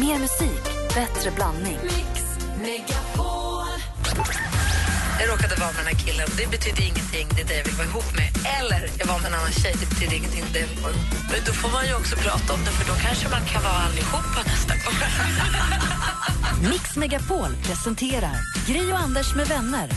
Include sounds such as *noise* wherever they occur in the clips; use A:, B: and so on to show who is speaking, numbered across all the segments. A: Mer musik, bättre blandning.
B: Jag råkade vara med den här killen. Det betyder ingenting, det är det jag vill vara ihop med. Eller jag var med en annan tjej, det betyder ingenting, det är det jag vill vara ihop med. Men då får man ju också prata om det, för då kanske man kan vara allihopa nästa gång.
A: Mix Megapol presenterar Gri och Anders med vänner.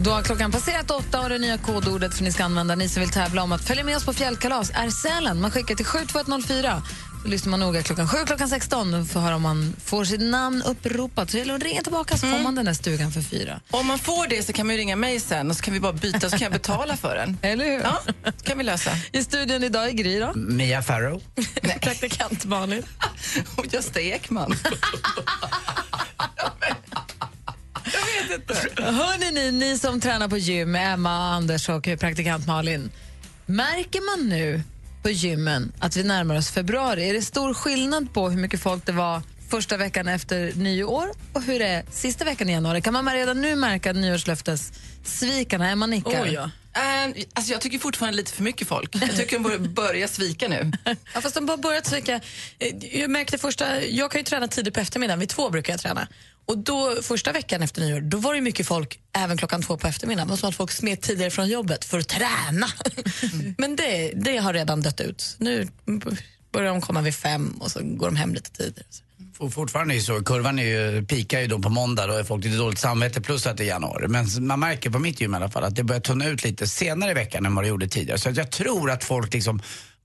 C: Då har klockan passerat åtta och det nya kodordet som ni ska använda, ni som vill tävla om att följa med oss på fjällkalas, är Sälen. Man skickar till 72104. Då lyssnar man noga klockan 7 klockan 16 för att höra om man får sitt namn uppropat. Så gäller det att ringa tillbaka så
B: Mm.
C: får man den där stugan för fyra.
D: Om man får det så kan man ju ringa mig sen och så kan vi bara byta så kan jag betala för den.
C: *laughs* Eller hur?
D: Ja, kan vi lösa.
C: I studion idag är Gry då.
E: Mia Farrow.
C: *laughs* Praktikant Malin.
D: *laughs* Och Gösta Ekman.
C: Hörni ni, ni som tränar på gym, Emma, Anders och praktikant Malin. Märker man nu på gymmen att vi närmar oss februari? Är det stor skillnad på hur mycket folk det var första veckan efter nyår och hur det är sista veckan i januari? Kan man redan nu märka nyårslöftessvikarna? Emma nickar.
F: Oh, ja.
D: Ehm, alltså jag tycker fortfarande lite för mycket folk. Jag tycker de borde börja svika nu.
F: Ja, fast de har börjat svika. Eh, Jag märkte första, jag kan ju träna tidigt på eftermiddagen, vid två brukar jag träna. Och då, första veckan efter nyår, då var det mycket folk även klockan två på eftermiddagen. Det var som att folk smet tidigare från jobbet för att träna. *laughs* Men det, det har redan dött ut. Nu börjar de komma vid fem och så går de hem lite tidigare.
E: For- Fortfarande är det så. Kurvan är ju, pikar ju då på måndag. Då är folk lite dåligt samvete plus att det är januari. Men man märker på mitt gym i alla fall att det börjar tunna ut lite senare i veckan än vad det gjorde tidigare. Så att jag tror att folk liksom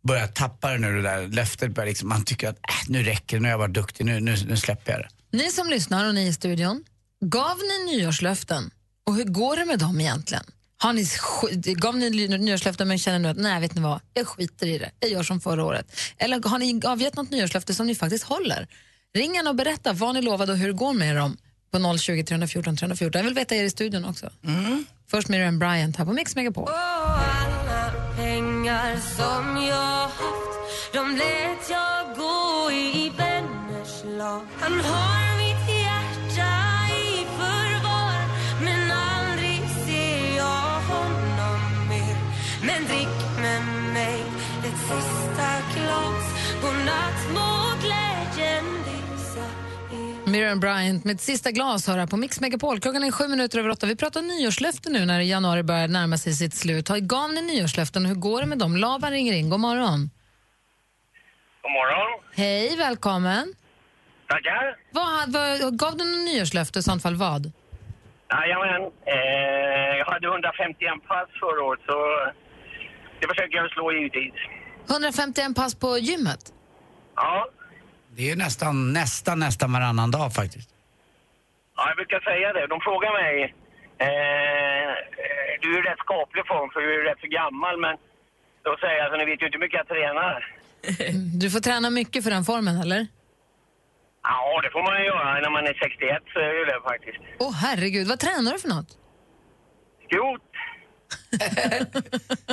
E: börjar tappa det nu. Det där löftet börjar liksom, man tycker att äh, nu räcker det, nu har jag varit duktig, nu, nu, nu släpper jag det.
C: Ni som lyssnar och ni i studion, gav ni nyårslöften? Och hur går det med dem egentligen? Har ni, sk- gav ni ly- nyårslöften men känner nu att nej, vet ni vad, jag skiter i det, jag gör som förra året. Eller har ni avgett något nyårslöfte som ni faktiskt håller? Ring gärna och berätta vad ni lovade och hur det går med dem på 020 314 314. Jag vill veta er i studion också. Först Miriam Bryant här på Mix Megapol. Miriam Bryant med ett sista glas hör här på Mix Megapol. Klockan är sju minuter över åtta. Vi pratar nyårslöften nu när januari börjar närma sig sitt slut. Har- Gav ni nyårslöften och hur går det med dem? Laban ringer in. God morgon.
G: God morgon.
C: Hej, välkommen.
G: Tackar.
C: Vad, vad, gav du någon nyårslöfte i sånt fall vad?
G: Jajamän. Eh, jag hade 151 pass förra året, så det försöker jag slå givetvis.
C: 151 pass på *laughs* gymmet?
G: Ja.
E: Det är ju nästan, nästan, nästan varannan dag faktiskt.
G: ja, jag brukar säga det. De frågar mig... Eh, eh, du är i rätt skaplig form, för du är rätt så gammal, men... Då säger jag så ni vet ju inte hur mycket jag tränar.
C: Du får träna mycket för den formen, eller?
G: Ja, det får man ju göra. När man är 61 så är det ju det faktiskt.
C: Åh, herregud. Vad tränar du för något?
E: *laughs*
G: Skrot!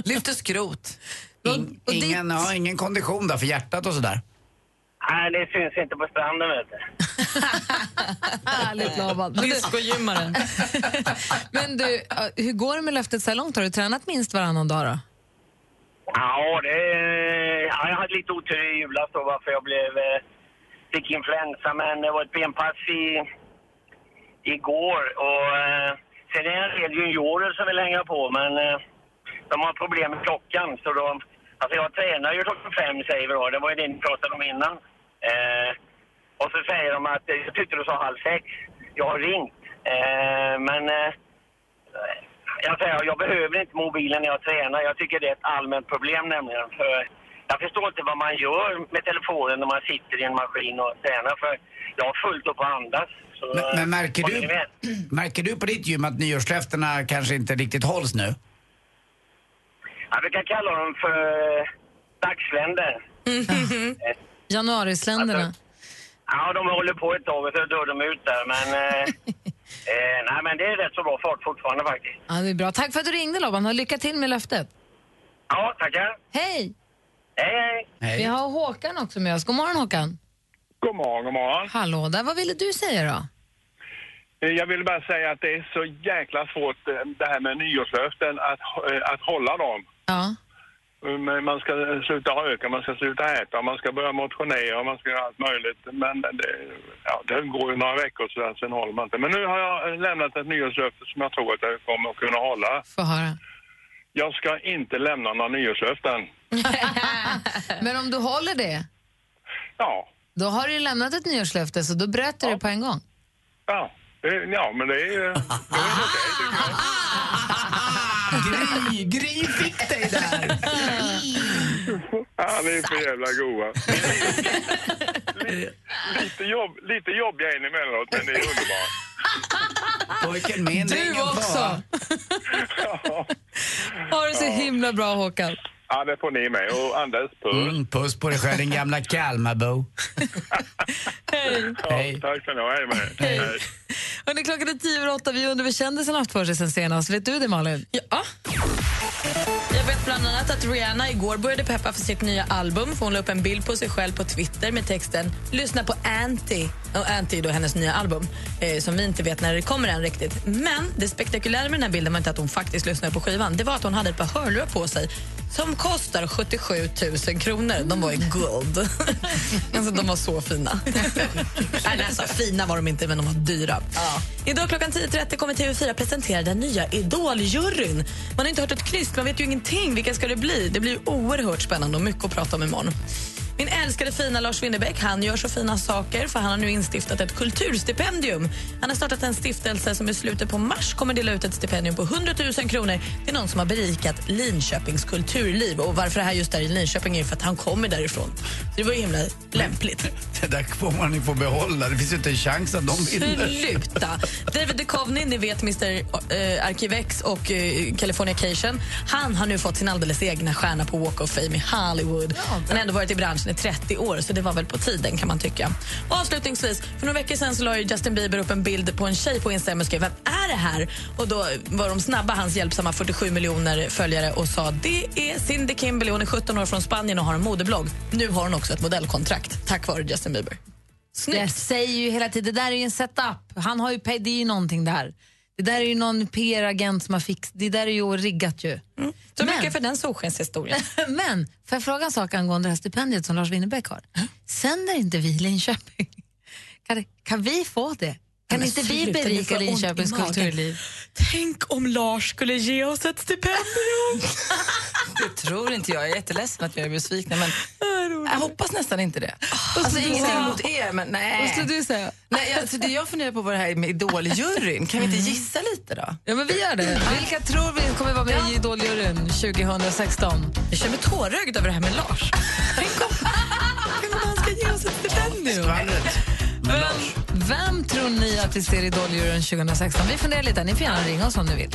D: Lyfter skrot.
E: In,
C: och
E: ingen,
C: ditt-
E: ja, ingen kondition där för hjärtat och sådär.
G: Nej, det syns inte på stranden, vet du.
C: *laughs* Härligt, Laban. Men du,
F: Discogymmaren.
C: men du, eh, hur går det med löftet så här långt? Har du tränat minst varannan dag? Då?
G: Ja, det... Ja, jag hade lite otur i julas då, varför jag blev... eh, Fick influensa, men det var ett benpass i, igår. Och, eh, sen är det en del juniorer som vill hänga på, men eh, de har problem med klockan. Så de, alltså jag tränar ju klockan fem, säger vi då. Det var ju det ni pratade om innan. Eh, och så säger de att, eh, jag tyckte du sa halv sex. Jag har ringt. Eh, men... Eh, jag säger, jag behöver inte mobilen när jag tränar. Jag tycker det är ett allmänt problem nämligen. För jag förstår inte vad man gör med telefonen när man sitter i en maskin och tränar. För jag har fullt upp att andas. Så,
E: Men, men märker,
G: Håller ni
E: du,
G: med?
E: märker du på ditt gym att nyårslöftena kanske inte riktigt hålls nu?
G: Jag brukar kalla dem för eh, dagsländer.
C: Januarisländerna.
G: Alltså- Ja, de håller på ett tag och så dör de ut där. Men, eh, eh, nej, men det är rätt så bra fart fortfarande faktiskt.
C: Ja, det är bra. Tack för att du ringde, Laban. Och Lycka till med löftet.
G: Ja, tackar.
C: Hej!
G: Hej, hej.
E: Nej.
C: Vi har Håkan också med oss. God morgon, Håkan.
H: God morgon, god morgon.
C: Hallå där. Vad ville du säga då?
H: Eh, Jag vill bara säga att det är så jäkla svårt eh, det här med nyårslöften, att, eh, att hålla dem.
C: Ja.
H: Men Man ska sluta röka, man ska sluta äta, man ska börja motionera, man ska göra allt möjligt. Men det, ja, det går ju några veckor så där, sen håller man inte. Men nu har jag eh, lämnat ett nyårslöfte som jag tror att jag kommer att kunna hålla.
C: Få höra.
H: Jag ska inte lämna några nyårslöften.
C: Men om du håller det,
H: Ja,
C: då har du ju lämnat ett nyårslöfte så då bröt du det på en gång.
H: ja, det- ja men det är ju...
C: *laughs*
H: det är väl okej, tycker jag.
E: Gry, Gry fick dig där!
H: Ja, ni är för jävla goa. Lite- lite, jobb, lite jobbiga är ni emellanåt, men det är underbart.
E: Pojken med
C: Du
E: ringen på.
C: också!
H: Ja.
C: Ha det så himla bra Håkan.
H: Ja, det får ni med. Och Anders, puss.
E: Mm, puss på dig själv din gamla Kalmarbo. Hej.
H: Ja, tack ska ni ha. Hej med er. Hej.
C: Och det är klockan är tio över åtta. Vi undrar vad kändisen haft för sig sen senast. Vet du det Malin?
F: Ja. Jag vet bland annat att Rihanna igår började peppa för sitt nya album. För hon la upp en bild på sig själv på Twitter med texten “Lyssna på Anti”. Och Anti är då hennes nya album, eh, som vi inte vet när det kommer än riktigt. Men det spektakulära med den här bilden var inte att hon faktiskt lyssnade på skivan. Det var att hon hade ett par hörlurar på sig som kostar 77 000 kronor. De var i guld. *laughs* alltså, de var så fina. Nej, alltså, fina var de inte, men de var dyra. Idag klockan 10.30 kommer TV4 presentera den nya Idol-juryn. Man har inte hört ett knyst, man vet ju ingenting. Vilka ska det bli? Det blir oerhört spännande och mycket att prata om imorgon. Min älskade fina Lars Winnerbäck, han gör så fina saker för han har nu instiftat ett kulturstipendium. Han har startat en stiftelse som i slutet på mars kommer dela ut ett stipendium på 100 000 kronor till någon som har berikat Linköpings kulturliv. Och varför det här just där i Linköping är ju för att han kommer därifrån. Så det var ju himla lämpligt.
E: *laughs* Det där får man ju få behålla. Det finns ju inte en chans att de vinner.
F: Sluta! David Duchovny, ni vet Mr eh, Arkivex och eh, Californication. Han har nu fått sin alldeles egna stjärna på Walk of Fame i Hollywood. Han har ändå varit i branschen i 30 år, så det var väl på tiden kan man tycka. Och avslutningsvis, för några veckor sedan så la ju Justin Bieber upp en bild på en tjej på Instagram och skrev “Vem är det här?” Och då var de snabba, hans hjälpsamma 47 miljoner följare och sa “Det är Cindy Kimberley, hon är 17 år från Spanien och har en modeblogg. Nu har hon också ett modellkontrakt, tack vare Justin Bieber.” Snyggt!
C: Jag säger ju hela tiden, det där är ju en setup. Han har ju, pe- det är ju någonting där. Det där är ju någon PR-agent som har fixat, det där är ju riggat ju.
F: Så
C: Men-
F: mycket Mm. för den solskenshistorien.
C: *laughs* Men, får jag fråga en sak angående det här stipendiet som Lars Winnerbäck har?
F: Mm.
C: Sänder inte vi Linköping? *laughs* Kan, kan vi få det? Kan
F: men
C: inte vi
F: sluta, nu får
C: berika
F: jag ont i
C: Linköpings
F: magen.
C: kulturliv?
F: Tänk om Lars skulle ge oss ett stipendium!
D: *laughs* Det tror inte jag. Jag är jätteledsen att jag är besviken. Men jag hoppas nästan inte det. Alltså, ingenting mot er, men
C: Vad skulle
D: nej.
C: du säga?
D: nej alltså, det jag funderar på var det här med Idol-juryn. Kan vi inte gissa lite då?
C: Ja, men vi gör det. Vilka tror vi kommer vara med i Idoljuryn 2016?
F: Jag känner mig tårögd över det här med Lars. Tänk om, tänk om han ska ge oss ett stipendium!
E: Skvallret. Men Lars.
C: Vem tror ni att vi ser i Idoljuryn 2016? Vi funderar lite. Ni får gärna ringa oss om ni vill.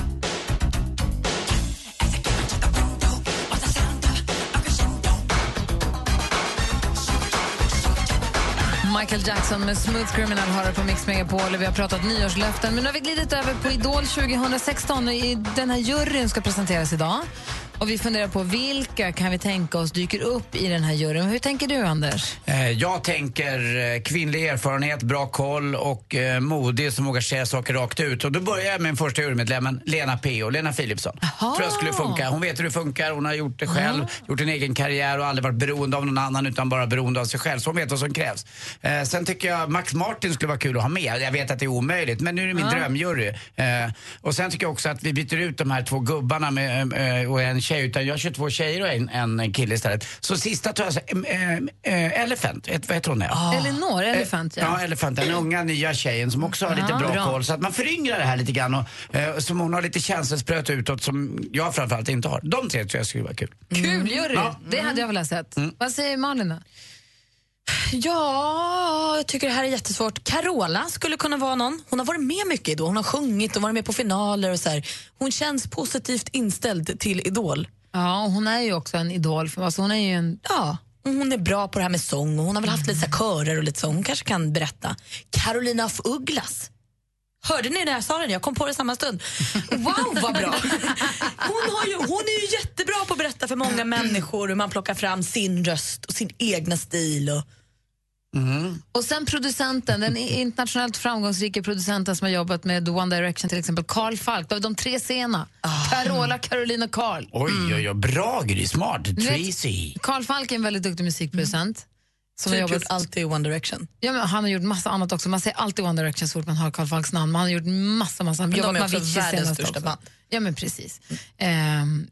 C: Michael Jackson med Smooth Criminal har det på Mix Megapol. Vi har pratat nyårslöften, men nu har vi glidit över på Idol 2016. Och i- Den här juryn ska presenteras idag. Och Vi funderar på vilka kan vi tänka oss dyker upp i den här juryn. Hur tänker du, Anders?
E: Eh, Jag tänker eh, kvinnlig erfarenhet, bra koll och eh, modig som vågar säga saker rakt ut. Och då börjar jag med den första jurymedlemmen, Lena P.O. Lena Philipsson.
C: Aha.
E: Tror jag skulle funka. Hon vet hur det funkar, hon har gjort det själv, gjort en egen karriär och aldrig varit beroende av någon annan utan bara beroende av sig själv. Så hon vet vad som krävs. Eh, Sen tycker jag Max Martin skulle vara kul att ha med. Jag vet att det är omöjligt, men nu är det min drömjury. Eh, Och sen tycker jag också att vi byter ut de här två gubbarna med, eh, eh, och en tjej, utan jag kör två tjejer och en, en kille istället. Så sista tar jag så, eh, eh, Elephant, Eh, vad heter hon? Ja. Eh,
C: Elinor Elefant,
E: Ja, Elefant, den unga nya tjejen som också har lite
C: Ja,
E: bra,
C: bra.
E: koll. Så att man föryngrar det här lite grann. Och, eh, som hon har lite känselspröt utåt som jag framförallt inte har. De tre tror jag skulle vara kul.
C: Kul jury! Det hade jag velat sett. Vad säger Malin då?
F: Ja, jag tycker det här är jättesvårt. Carola skulle kunna vara någon. Hon har varit med mycket i Idol. Hon har sjungit och varit med på finaler. och så här. Hon känns positivt inställd till Idol.
C: Ja, och hon är ju också en idol. För, alltså hon är ju en...
F: Ja, och hon är bra på det här med sång och hon har väl haft lite så här körer och lite så. Hon kanske kan berätta. Carolina af Ugglas. Hörde ni när jag sa den? Jag kom på det samma stund. Wow, vad bra! Hon, har ju, hon är ju jättebra på att berätta för många människor hur man plockar fram sin röst och sin egna stil. Och
C: Och sen producenten, den internationellt framgångsrika producenten som har jobbat med One Direction till exempel, Carl Falk. Det var de tre sena. Carola, Caroline och Carl.
E: Oj, oj, oj. Bra Gry. Smart.
C: Mm. vet-
E: Tracy.
C: Carl Falk är en väldigt duktig musikproducent. Som har
F: Typ
C: jobbat
F: gjort allt i One Direction.
C: Ja, men han har gjort massa annat också. Man säger alltid One Direction så fort man hör Carl Falks namn. Men han har gjort massa, massa. Han
F: de
C: jobbat
F: är
C: med
F: också
C: Avicii
F: världens
C: senast
F: största
C: också.
F: band.
C: Ja, men precis. Ehm,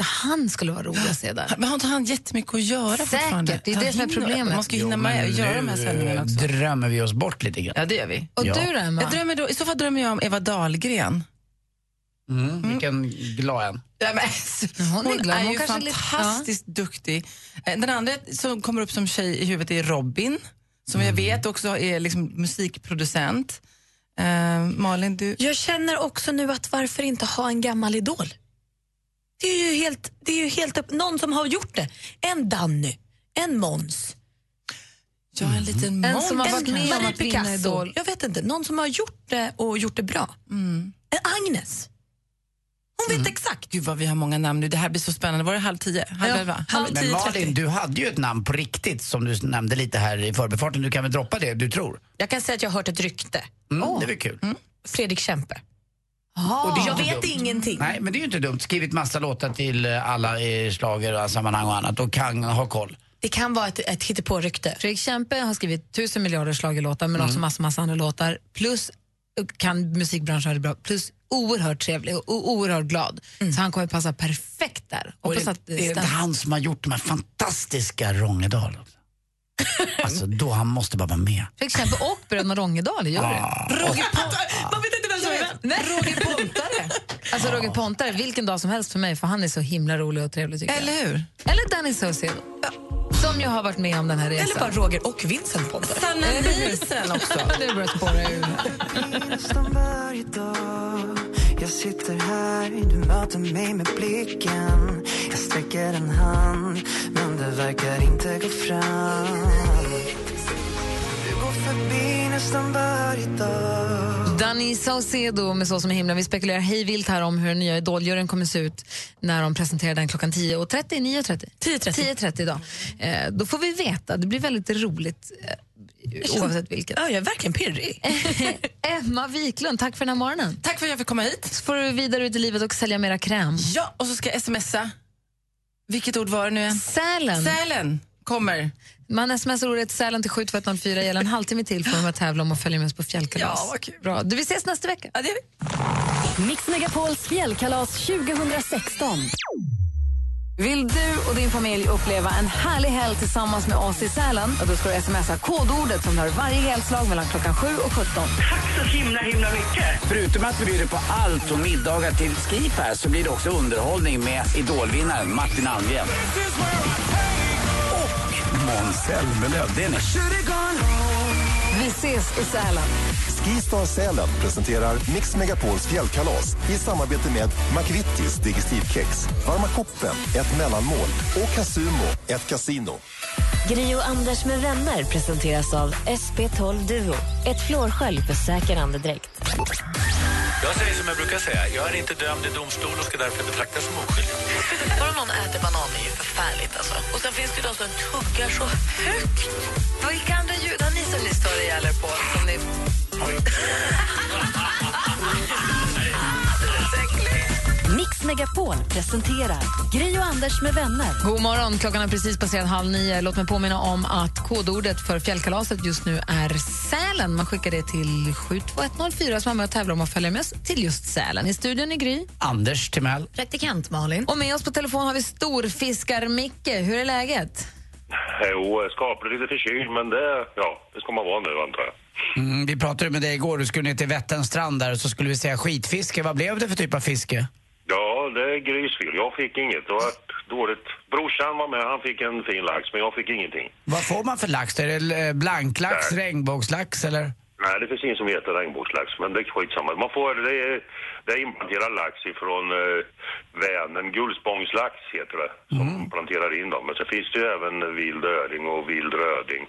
C: eh, han skulle vara rolig att se där.
D: Men har inte han jättemycket att göra
C: Säkert,
D: fortfarande?
C: det är det som är
D: Han hinner-
C: problemet.
D: Man ska
E: Jo,
D: hinna med
E: men
D: att göra de här
E: nu,
D: sändningarna också.
E: eh, drömmer vi oss bort lite grann.
D: Ja, det gör vi.
C: Och
E: Ja.
C: du då, Emma?
D: Jag drömmer då, I så fall drömmer jag om Eva Dahlgren.
E: Mm. Vilken glad en.
D: Ja, men,
C: hon är
D: hon
C: glad.
D: är
C: Hon
D: ju
C: kanske är lite-
D: fantastiskt duktig. Eh, Den andra som kommer upp som tjej i huvudet är Robin, som jag vet också är liksom musikproducent. Eh, Malin, du...
F: Jag känner också nu att varför inte ha en gammal idol? Det är ju helt, det är ju helt upp, någon som har gjort det. En Danny, en Måns,
D: Jag är en liten
C: Mm. En som har
F: en
C: varit med om
F: Marie
C: att vinna
F: Picasso.
C: Idol. Mm.
F: Jag vet inte, någon som har gjort det och gjort det bra. En Agnes. Hon vet exakt.
D: Gud vad vi har många namn nu. Det här blir så spännande. Var det halv tio? Halv
F: Ja,
D: elva?
F: halv
E: Men Malin, du hade ju ett namn på riktigt som du nämnde lite här i förbifarten. Du kan väl droppa det du tror?
F: Jag kan säga att jag har hört ett rykte.
E: Mm, Det var kul.
F: Fredrik Kempe.
E: Och
C: Ah.
E: det är ju
F: Jag
E: inte
F: vet ingenting.
E: Nej, men det är ju inte dumt. Skrivit massa låtar till eh, alla eh, slager och sammanhang och annat och kan ha koll.
F: Det kan vara ett, ett hittepårykte.
C: Fredrik Kempe har skrivit tusen miljarder schlagerlåtar men också massa, massa andra låtar. Plus kan musikbranschen ha det bra. Plus oerhört trevlig och o- oerhört glad.
F: Mm.
C: Så han kommer passa perfekt där.
E: Och
C: Hoppas
E: det,
C: att
E: det är
C: det
E: inte
C: stämmer.
E: han som har gjort de här fantastiska Rångedal. också? Alltså, då han måste bara vara med.
C: Fredrik Kempe och Bröderna Rångedal gör det.
F: Man vet inte vem som är vem.
C: Nej. Roger Pontare. Alltså Roger Pontare, vilken dag som helst för mig för han är så himla rolig och trevlig tycker
D: Eller hur?
C: jag. Eller Danny Saucedo. Som ju har varit med om den här
F: Eller
C: resan.
F: bara Roger och Vincent Potter.
D: Sanna Nielsen också.
C: Nu börjar *laughs* det spåra ur.
I: Jag sitter här, du möter mig med blicken Jag sträcker en hand, men det verkar inte gå fram Du går förbi nästan varje dag
C: Danny Saucedo med Så som är himlen. Vi spekulerar hej vilt här om hur den nya Idoljuryn kommer se ut när de presenterar den klockan 10.30, 9.30? 10.30. 10.30 idag. Eh, då får vi veta. Det blir väldigt roligt eh, oavsett vilket.
F: Ja, jag är verkligen pirrig.
C: *laughs* Emma Wiklund, tack för den här morgonen.
D: Tack för att jag fick komma hit.
C: Så får du vidare ut i livet och sälja mera kräm.
D: Ja, och så ska jag smsa. Vilket ord var det nu igen?
C: Sälen.
D: Sälen kommer.
C: Man smsar ordet Sälen till 72104 gäller en halvtimme till för att vara tävla om att följa med oss på fjällkalas.
D: Ja, vad kul.
C: Bra. Du, vi ses nästa vecka.
D: Ja, det är vi.
A: Mix Megapols fjällkalas 2016.
J: Vill du och din familj uppleva en härlig helg tillsammans med oss i Sälen? Ja, Då ska du smsa kodordet som hör varje helslag mellan klockan 7 och 17.
E: Förutom att vi bjuder på allt och middagar till Skipass så blir det också underhållning med idolvinnaren Martin Almgren. Och Måns Zelmerlöw. Det är ni.
J: Vi ses i Sälen.
K: Skistar Sälen presenterar Mix Megapols fjällkalas i samarbete med McVittys Digestivkex, Varma koppen, ett mellanmål och Casumo, ett kasino.
A: Gri och Anders med vänner presenteras av SP12 Duo. Ett flårskölj för säker andedräkt.
L: Jag säger som jag brukar säga, jag är inte dömd i domstol och ska därför betraktas som oskyldig.
B: Bara någon äter banan är ju förfärligt. Alltså. Och sen finns det ju de som tuggar så högt. Vilka andra ljud har ni som ni stör ihjäl er på? Som ni...
A: Mix Megapol presenterar Gri och Anders med vänner.
C: God morgon, klockan är precis passerat halv nio. Låt mig påminna om att kodordet för fjällkalaset just nu är Sälen. Man skickar det till 72104 som är med och tävlar om att följa med oss till just Sälen. I studion i Gry.
E: Anders Timell.
C: Praktikant Malin. Och med oss på telefon har vi storfiskar-Micke. Hur är läget?
H: Jo, skapligt lite förkyld, men det, ja, det ska man vara nu antar jag.
E: Mm, vi pratade med dig igår, du skulle ner till Vätterns strand där och så skulle vi säga skitfiske. Vad blev det för typ av fiske?
H: Ja, det är grysfel. Jag fick inget. Det var dåligt. Brorsan var med, han fick en fin lax, men jag fick ingenting.
E: Vad får man för lax? Är det eh, blanklax,
H: Nej.
E: regnbågslax eller?
H: Nej, det finns ingen som heter regnbågslax, men det är skitsamma. Man får, det är, det är inplanterad lax ifrån eh, Vänern. Gullspångslax heter det,
C: Mm.
H: som planterar in dem. Men så finns det ju även vild öring och vild röding.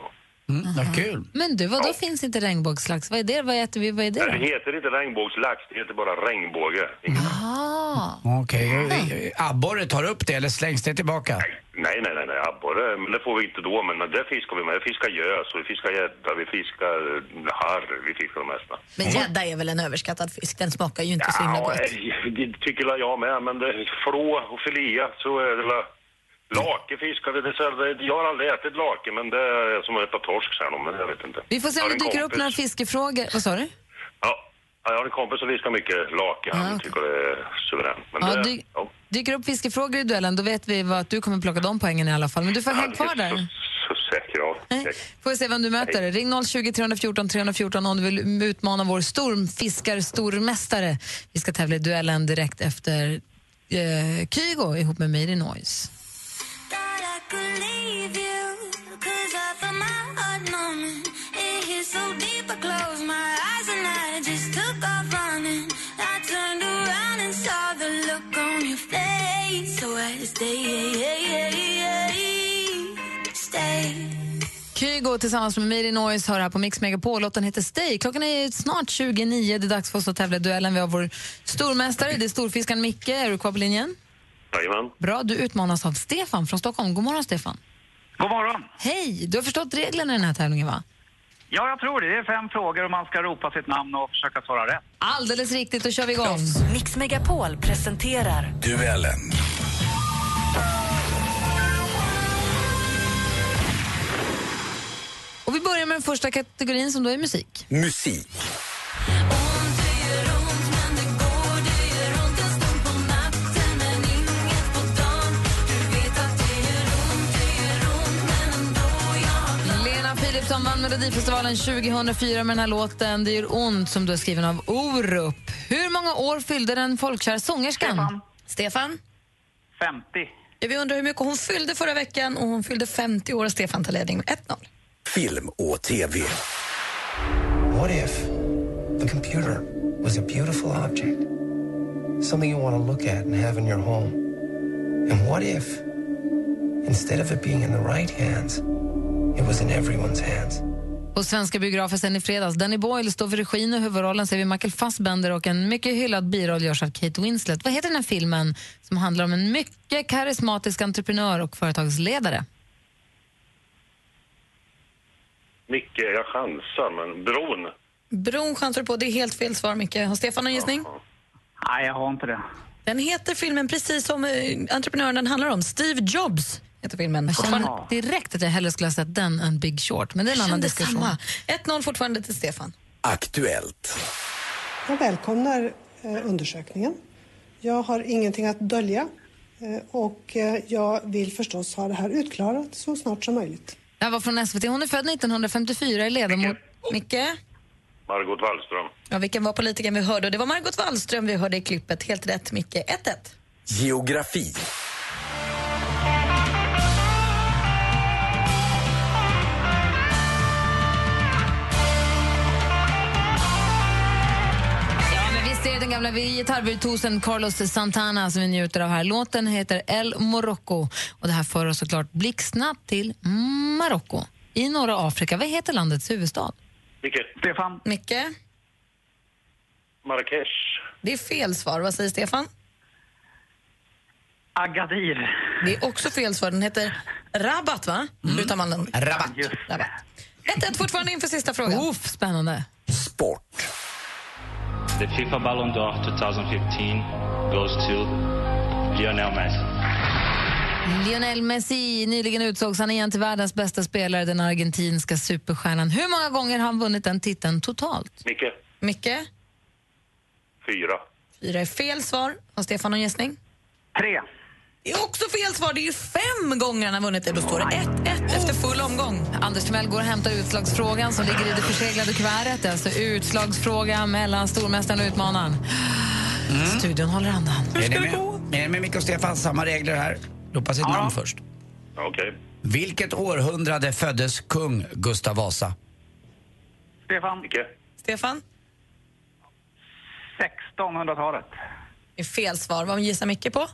E: Mm, Vad kul.
C: Men du, vadå
H: Ja.
C: finns inte regnbågslax? Vad är det? Vad äter vi? Vad är det
H: Nej, det
C: då?
H: heter inte regnbågslax, det heter bara regnbåge. Inget-
C: Ah.
E: eh, Okej, okay. abborre tar upp det eller slängs det tillbaka?
H: Nej,
M: Nej, nej, nej, nej. abborre, men det får vi inte då. Men det fiskar vi med. Vi fiskar gös, och vi fiskar gädda, vi fiskar eh, harr, vi fiskar de mesta.
F: Men gädda är väl en överskattad fisk? Den smakar ju inte så himla
M: Ja,
F: gott.
M: eh, det tycker väl jag med, men det är frå och filé så är det väl... Lake fiskar vi, det är sällan- jag har aldrig ätit lake, men det är som att äta torsk sen om, men jag vet inte.
C: Vi får se om
M: Jag har en
C: det dyker upp
M: kompis-
C: några fiskefrågor. Vad sa du?
M: Ja, jag har en kompis som fiskar mycket lake, han tycker det är suveränt. Men
C: Ja,
M: det,
C: dy-
M: ja.
C: Dyker upp fiskefrågor i duellen, då vet vi vad, att du kommer plocka de poängen i alla fall. Men du får hänga kvar där.
M: Så säker jag.
C: Får vi se vem du möter. Ring 020 314 314 om du vill utmana vår stormfiskar-stormästare. Vi ska tävla i duellen direkt efter eh, Kygo ihop med Made in Noise. Kygo tillsammans med Made in Noise hör här på Mix Megapol. Låten heter Stay. Klockan är snart 29. Det är dags för oss att tävla i duellen. Vi har vår stormästare, det är storfiskaren Micke. Är du kvar på linjen?
M: Jajamän.
C: Bra, du utmanas av Stefan från Stockholm. God morgon, Stefan.
N: God morgon!
C: Hej! Du har förstått reglerna i den här tävlingen, va?
N: Ja, jag tror det. Det är fem frågor och man ska ropa sitt namn och försöka svara rätt.
C: Alldeles riktigt, då kör vi igång.
A: Mix Megapol presenterar
L: Duellen.
C: Och vi börjar med den första kategorin som då är musik.
L: Musik.
C: Lena Philipsson vann Melodifestivalen 2004 med den här låten Det gör ont som du är skriven av Orup. Hur många år fyllde den folkkär sångerskan? Stefan.
F: Stefan?
N: 50.
F: Vi undrar hur mycket hon fyllde förra veckan och hon fyllde 50 år och Stefan tar ledning med 1-0.
L: Film och TV.
O: What if the computer was a beautiful object? Something you want to look at and have in your home? And what if, instead of it being in the right hands, it was in everyone's hands?
C: På svenska biografer sen i fredags. Danny Boyle står för regin och huvudrollen ser vi Michael Fassbender och en mycket hyllad biroll görs av Kate Winslet. Vad heter den här filmen som handlar om en mycket karismatisk entreprenör och företagsledare?
M: Micke, jag chansar, men bron.
F: Bron chansar du på, det är helt fel svar Micke. Har Stefan någon gissning?
N: Nej, jag har inte det.
F: Den heter filmen precis som eh, entreprenören den handlar om, Steve Jobs heter filmen.
C: Jag känner direkt att jag hellre skulle ha sett den än Big Short, men det är en annan
F: Kände
C: diskussion.
F: samma. 1-0 fortfarande till Stefan.
L: Aktuellt.
P: Jag välkomnar eh, undersökningen. Jag har ingenting att dölja eh, och eh, jag vill förstås ha det här utklarat så snart som möjligt.
C: Det här var från SVT. Hon är född 1954, är ledamot...
F: Micke?
M: Margot Wallström.
F: Ja, vilken var politikern vi hörde? Och det var Margot Wallström vi hörde i klippet. Helt rätt Micke. 1-1.
L: Geografi.
C: Ja, men visst är det den gamla gitarrvirtuosen Carlos Santana som vi njuter av här. Låten heter El Morocco och det här för oss såklart blixtsnabbt till Marocko i norra Afrika. Vad heter landets huvudstad?
M: Micke.
N: Stefan.
F: Micke?
M: Marrakesh.
F: Det är fel svar. Vad säger Stefan?
N: Agadir.
F: Det är också fel svar. Den heter Rabat, va? Utan man den.
E: Rabat.
F: Rabat. 1-1 fortfarande inför sista frågan.
C: Oof, spännande.
L: Sport.
Q: The FIFA Ballon d'Or 2015 goes to Lionel Messi.
C: Lionel Messi nyligen utsågs han igen till världens bästa spelare, den argentinska superstjärnan. Hur många gånger har han vunnit den titeln totalt?
M: Micke.
F: Micke?
M: Fyra.
F: Fyra är fel svar. Har Stefan någon gästning?
N: Tre.
F: Det är också fel svar. Det är ju fem gånger han har vunnit det. Då står det 1-1 efter full omgång.
C: Anders Timell går och hämtar utslagsfrågan som ligger i det förseglade kuvertet. Det är alltså utslagsfråga mellan stormästaren och utmanaren. Studion håller andan.
E: Är ni med? Är ni med Micke och Stefan? Samma regler här. Ropa sitt namn först.
M: Okej.
E: Vilket århundrade föddes kung Gustav Vasa?
N: Stefan.
M: Micke.
F: Stefan?
N: 1600-talet.
F: Det är fel svar. Vad gissar Micke på?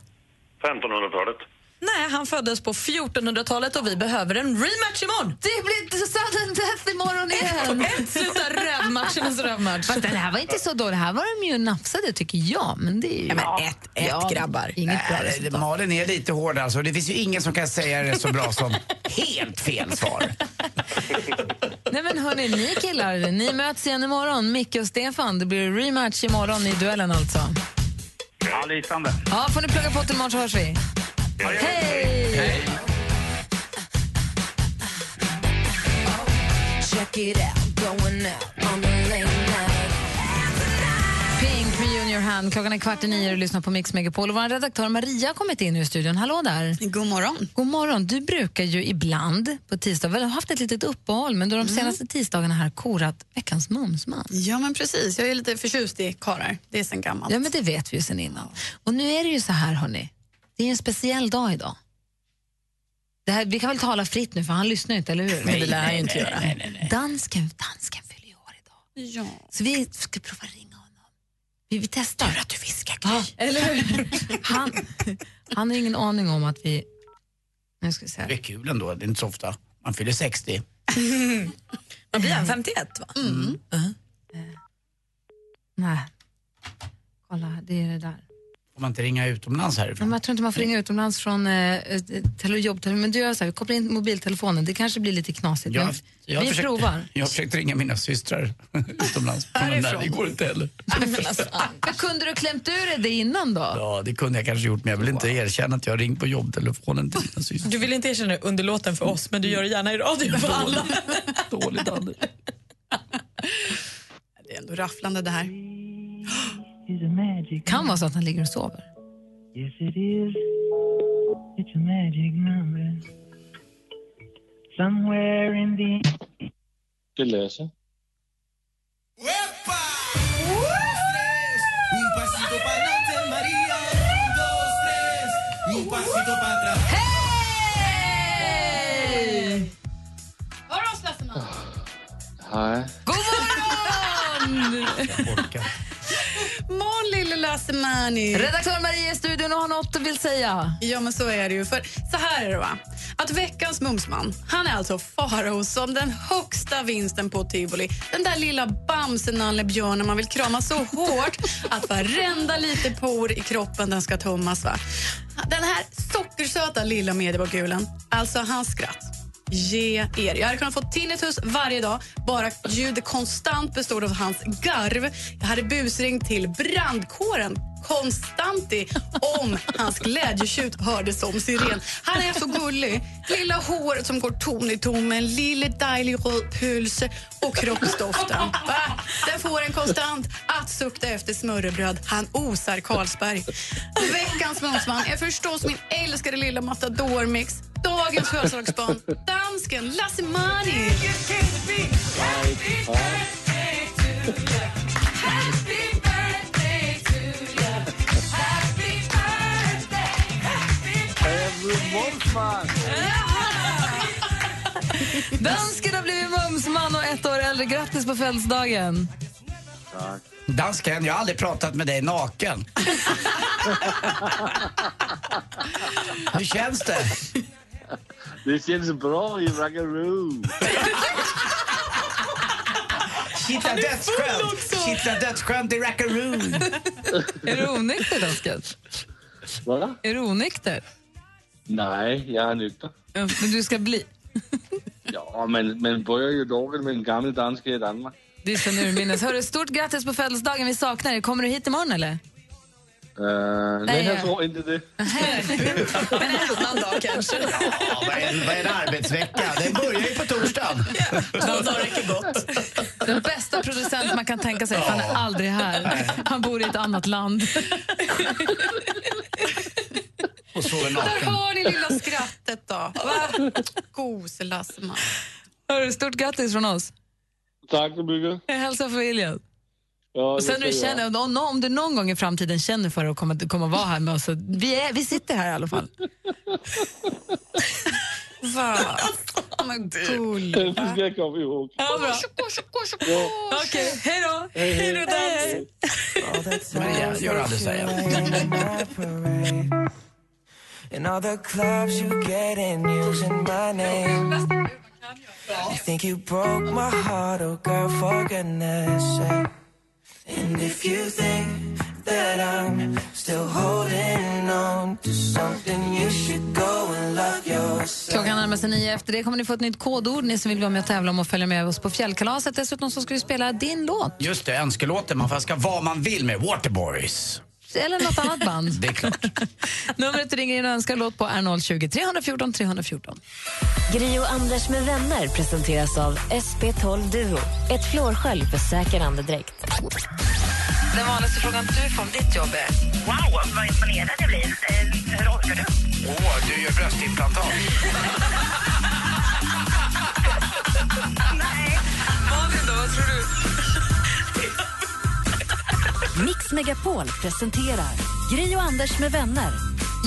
M: 1500-talet.
F: Nej, han föddes på 1400-talet och vi behöver en rematch imorn.
C: Det blir sudden death imorgon igen.
F: Ett, ett sluta rövmatch
C: en sån här match. Fast den här var inte så dålig. Här var de ju nafsade tycker jag. Men det är ju...
E: men
C: ett, ett grabbar. Inget bra liksom.
E: Nej,
C: resultat.
E: Malin är lite hård alltså. Det finns ju ingen som kan säga det så bra
C: *laughs*
E: som helt fel svar.
C: Nej men hörni, ni killar, ni möts igen imorgon. Micke och Stefan, det blir rematch imorgon i duellen alltså.
N: Ja, lysande.
C: Ja, får ni plugga på till imorgon så hörs vi. Hej!
R: Check it out, going out on the late night.
C: Pink med Junior Hand. Klockan är kvart i nio och du lyssnar på Mix Megapol. Och vår redaktör Maria har kommit in i studion. Hallå där!
S: God morgon!
C: God morgon. Du brukar ju ibland på tisdag, väl har haft ett litet uppehåll, men du har
S: Mm.
C: de senaste tisdagarna här korat veckans momsman.
S: Ja, men precis. Jag är lite förtjust i karlar. Det är sen gammalt.
C: Ja, men det vet vi ju sen innan. Och nu är det ju så här, hörni. Det är ju en speciell dag idag. Det här, vi kan väl tala fritt nu, för han lyssnar ju inte, eller hur?
S: Nej, det lär han ju inte göra.
C: Dansken, dansken fyller ju år idag. Ja. Så vi ska prova ringa honom. Vi, vi testar. Tur att du viskar, Gry. eller hur? han, han har ingen aning om att vi... Nu ska vi se. här.
E: Det är kul ändå, det är inte så ofta. Man fyller 60.
S: Man blir han 51, va?
C: Mm. Nej. Kolla, här, det är det där.
E: Får man inte ringa utomlands
C: Ja,
E: härifrån?
C: Men jag tror inte man får ringa utomlands från eh, eh, tele- jobbtelefonen. Men du gör så här, vi kopplar in mobiltelefonen. Det kanske blir lite knasigt.
E: Jag,
C: men
E: jag
C: vi
E: försökte,
C: provar.
E: *laughs* Jag har försökt ringa mina systrar *laughs* utomlands. Men
C: Härifrån?
E: Det går inte heller.
C: Men kunde du klämt ur dig det innan då?
E: Ja, det kunde jag kanske gjort, men jag vill inte erkänna att jag har ringt på jobbtelefonen till mina systrar.
F: Du vill inte erkänna underlåten för oss, men du gör det gärna i radio för alla.
E: Dåligt, Anders.
S: Det är ändå rafflande det här.
C: Kan vara så att han ligger och sover.
R: Yes, it is. It's a magic number. Somewhere in the...
T: Det löser.
C: Hej!
S: Var är slösarna?
T: Nej.
C: God morgon!
S: Morgon, lille Lassemani.
C: Redaktör Maria i studion och har något du vill säga.
S: Ja, men så är det ju. För så här är det, va? Att veckans mumsman, han är alltså Farao som den högsta vinsten på tivoli. Den där lilla bamsenallebjörnen man vill krama så hårt att varenda liten por i kroppen den ska tömmas. Va? Den här sockersöta lilla mediebakgulen, alltså hans skratt. Ge er. Jag hade kunnat få tinnitus varje dag. Bara ljudet konstant bestod av hans garv. Jag hade busring till brandkåren konstanti om hans glädjetjut hördes som siren. Han är så gullig. Lilla hår som går ton i tommen, lille dejlig röd puls och kroppsdoften.
R: *laughs*
S: Va? Den får en konstant att sukta efter smörrebröd. Han osar Carlsberg. Veckans mumsman är förstås min älskade lilla matadormix. Dagens födelsedagsbarn, dansken Lasse Mari.
C: Dansken har blivit mumsman och ett år äldre. Grattis på födelsedagen.
E: Dansken, jag har aldrig pratat med
T: *laughs*
E: dig naken. Hur känns det?
T: Det känns bra i raggaroo.
E: Kittla dödsskönt! Kittla dödsskönt i rackaroon.
C: Är du onykter, dansken?
T: Va?
C: Är du onykter?
T: Nej, jag är nykter.
C: Ja, Men du ska bli.
T: Ja, men man börjar ju dagen med en gammal dansk i Danmark.
C: Det är sen urminnes. Hörru, stort grattis på födelsedagen. Vi saknar dig. Kommer du hit imorgon eller?
T: Uh, nej,
C: ja.
T: jag tror inte
C: *laughs*
T: det. *laughs*
C: Men en annan dag kanske.
E: Ja, vad är, en- vad är en arbetsvecka? Den börjar ju på torsdagen.
C: Den bästa producent man kan tänka sig, för han är aldrig här. Han bor i ett annat land.
E: Och sover
S: Där
E: naken.
S: har ni lilla skrattet då. Va? Gos Lasse Mari.
C: Hörru, stort grattis från oss.
T: Tack så mycket.
C: Hälsa familjen.
T: Ja,
C: Och
T: det
C: sen när du
T: ska jag
C: känner, om, om du någon gång i framtiden känner för att komma, komma vara här med oss, så vi, är, vi sitter här i alla fall.
S: Va? Men gull.
T: göra. Det ska jag komma ihåg.
C: Ja, bra. Okej, hej då! Hej då, dans!
I: Oh,
E: Maria, gör aldrig så här.
I: In all the clubs you get in using my name You think you broke my heart, oh girl, for goodness sake. And if you think that I'm still holding on to something, you should go and love yourself.
C: Klockan närmar sig nio. Efter det kommer ni få ett nytt kodord. Ni som vill vara med och tävla om och följa med oss på fjällkalaset. Dessutom så ska vi spela din låt.
E: Just det, önskelåten. Man får önska vad man vill med Waterboys.
C: Eller något annat
T: *laughs*
C: band.
E: Det är klart.
C: Numret du ringer in och önskar låt på är 020 314 314.
A: Gri och Anders med vänner presenteras av SP12 Duo. Ett flårskölj för säker andedräkt.
B: Den vanligaste frågan du får om ditt jobb är... Wow, vad imponerad jag blir. Hur orkar du?
E: Åh, du gör bröstimplantat.
B: Malin, då? Vad tror du?
A: Mix Megapol presenterar Gri och Anders med vänner.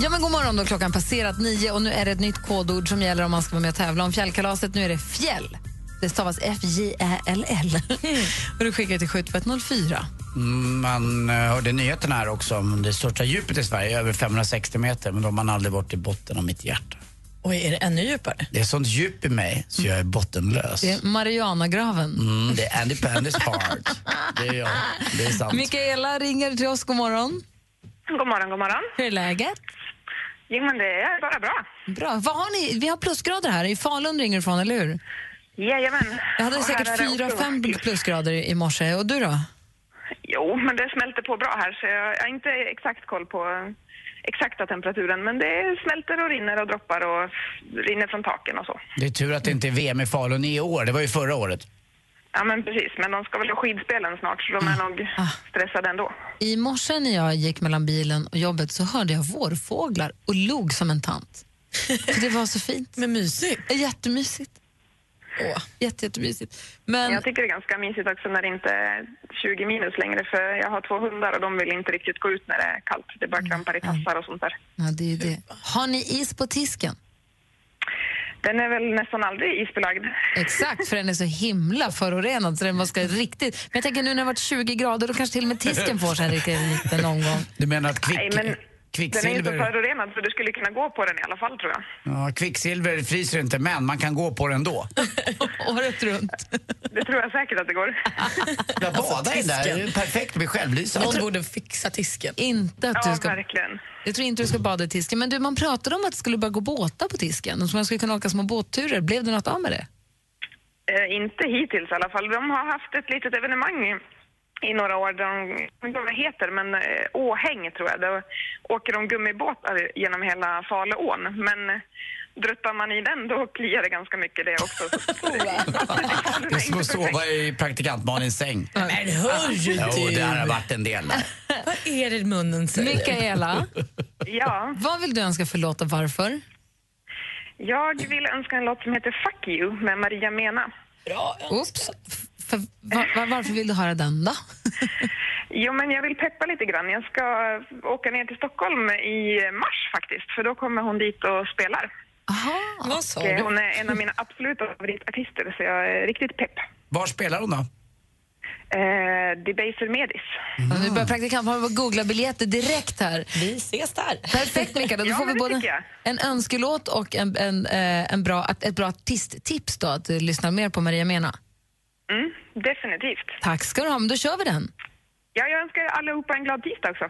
C: Ja, men god morgon då. Klockan passerat nio och nu är det ett nytt kodord som gäller om man ska vara med och tävla om fjällkalaset. Nu är det fjäll. Det stavas F-J-Ä-L-L.
A: Mm.
C: Och du skickar till 7104.
E: Mm, Man eh, hörde nyheterna här också om det största djupet i Sverige, över 560 meter. Men då har man aldrig varit i botten av mitt hjärta.
F: Oj, är det ännu djupare?
E: Det är sånt djup i mig så jag är bottenlös.
C: Det är Marianagraven.
E: Mm, det är Andy Pandys heart. Det är jag. Det är sant.
C: Mikaela ringer till oss. God morgon.
U: God morgon, god morgon.
C: Hur är läget?
U: Jo, men det är bara bra.
C: Bra. Vad har ni? Vi har plusgrader här. I Falun ringer du från, eller hur?
U: Jajamän.
C: Jag hade
U: Och
C: säkert
U: här är det
C: fyra,
U: också-
C: fem plusgrader i i morse. Och du då?
U: Jo, men det smälter på bra här så jag har inte exakt koll på eh, exakta temperaturen. Men det smälter och rinner och droppar och rinner från taken och så.
E: Det är tur att det inte är VM i Falun i år. Det var ju förra året.
U: Ja, men precis. Men de ska väl ha skidspelen snart så de är
C: Ah.
U: nog stressade ändå.
C: I morse när jag gick mellan bilen och jobbet så hörde jag vårfåglar och log som en tant. För det var så
F: *laughs*
C: fint.
F: Men mysigt.
C: Jättemysigt. Åh, jätte, jättemysigt. Men...
U: Jag tycker det är ganska mysigt också när det inte är 20 minus längre för jag har två hundar och de vill inte riktigt gå ut när det är kallt. Det
C: Mm.
U: bara krampar i tassar och sånt där.
C: Ja, det är ju det. Har ni is på tisken?
U: Den är väl nästan aldrig isbelagd.
C: Exakt, för den är så himla förorenad så den var ska
U: *laughs*
C: riktigt... Men jag tänker nu när det har varit 20 grader då kanske till och med tisken får sig en riktigt liten omgång.
E: Du menar att kvick...
U: Nej, men den är ju så
E: kvicksilver...
U: förorenad så du skulle kunna gå på den i alla fall tror jag.
E: Ja, kvicksilver fryser inte, men man kan gå på det ändå.
C: Året runt.
U: *laughs* Det
C: Alltså,
U: tror jag säkert att det går.
E: *laughs* Jag badar i den där. Det är perfekt med självlysande.
F: Någon borde fixa tisken.
C: Inte att
F: Ja,
C: du ska...
U: verkligen.
C: Jag tror inte du ska bada i tisken. Men du, man pratade om att det skulle börja gå båtar på tisken och så man skulle kunna åka små båtturer. Blev det något av med det?
U: Eh, inte hittills i alla fall. De har haft ett litet evenemang i, i några år, där de, jag vet inte vad det heter, men eh, Åhäng tror jag. Då åker de gummibåtar genom hela Faluån. Men eh, druttar man i den då kliar det ganska mycket det också.
C: *laughs* Oh,
U: Så- *laughs*
E: Det är som att sova i praktikant Malins säng. Men
F: hörru
E: Jo,
F: du.
E: det här har varit en del. där.
F: *laughs* Vad är det munnen säger?
C: Mikaela,
U: ja.
C: vad vill du önska för låt och varför?
U: Jag vill önska en låt som heter Fuck You med Maria Mena.
F: Bra.
C: Oops. F- För, va- va- varför vill du höra den då?
U: Jo, men jag vill peppa lite grann. Jag ska eh, åka ner till Stockholm i eh, mars faktiskt, för då kommer hon dit och spelar.
C: Aha.
F: Vad sa
U: Och, eh,
F: du?
U: Hon är en av mina absoluta favoritartister, så jag är riktigt pepp.
E: Var spelar hon då?
U: Eh, Debaser Medis.
C: Mm. Nu börjar praktikanten bara googla biljetter direkt här.
F: Vi ses där.
C: Perfekt Mikaela,
U: *laughs*
C: då
U: Ja,
C: får vi
U: men det
C: både
U: tycker jag.
C: en önskelåt och en, en, eh, en bra, ett bra artisttips då, att eh, lyssna mer på Maria Mena.
U: Mm, definitivt.
C: Tack ska du ha, men då kör vi den.
U: Ja, jag önskar allihopa en glad tisdag också.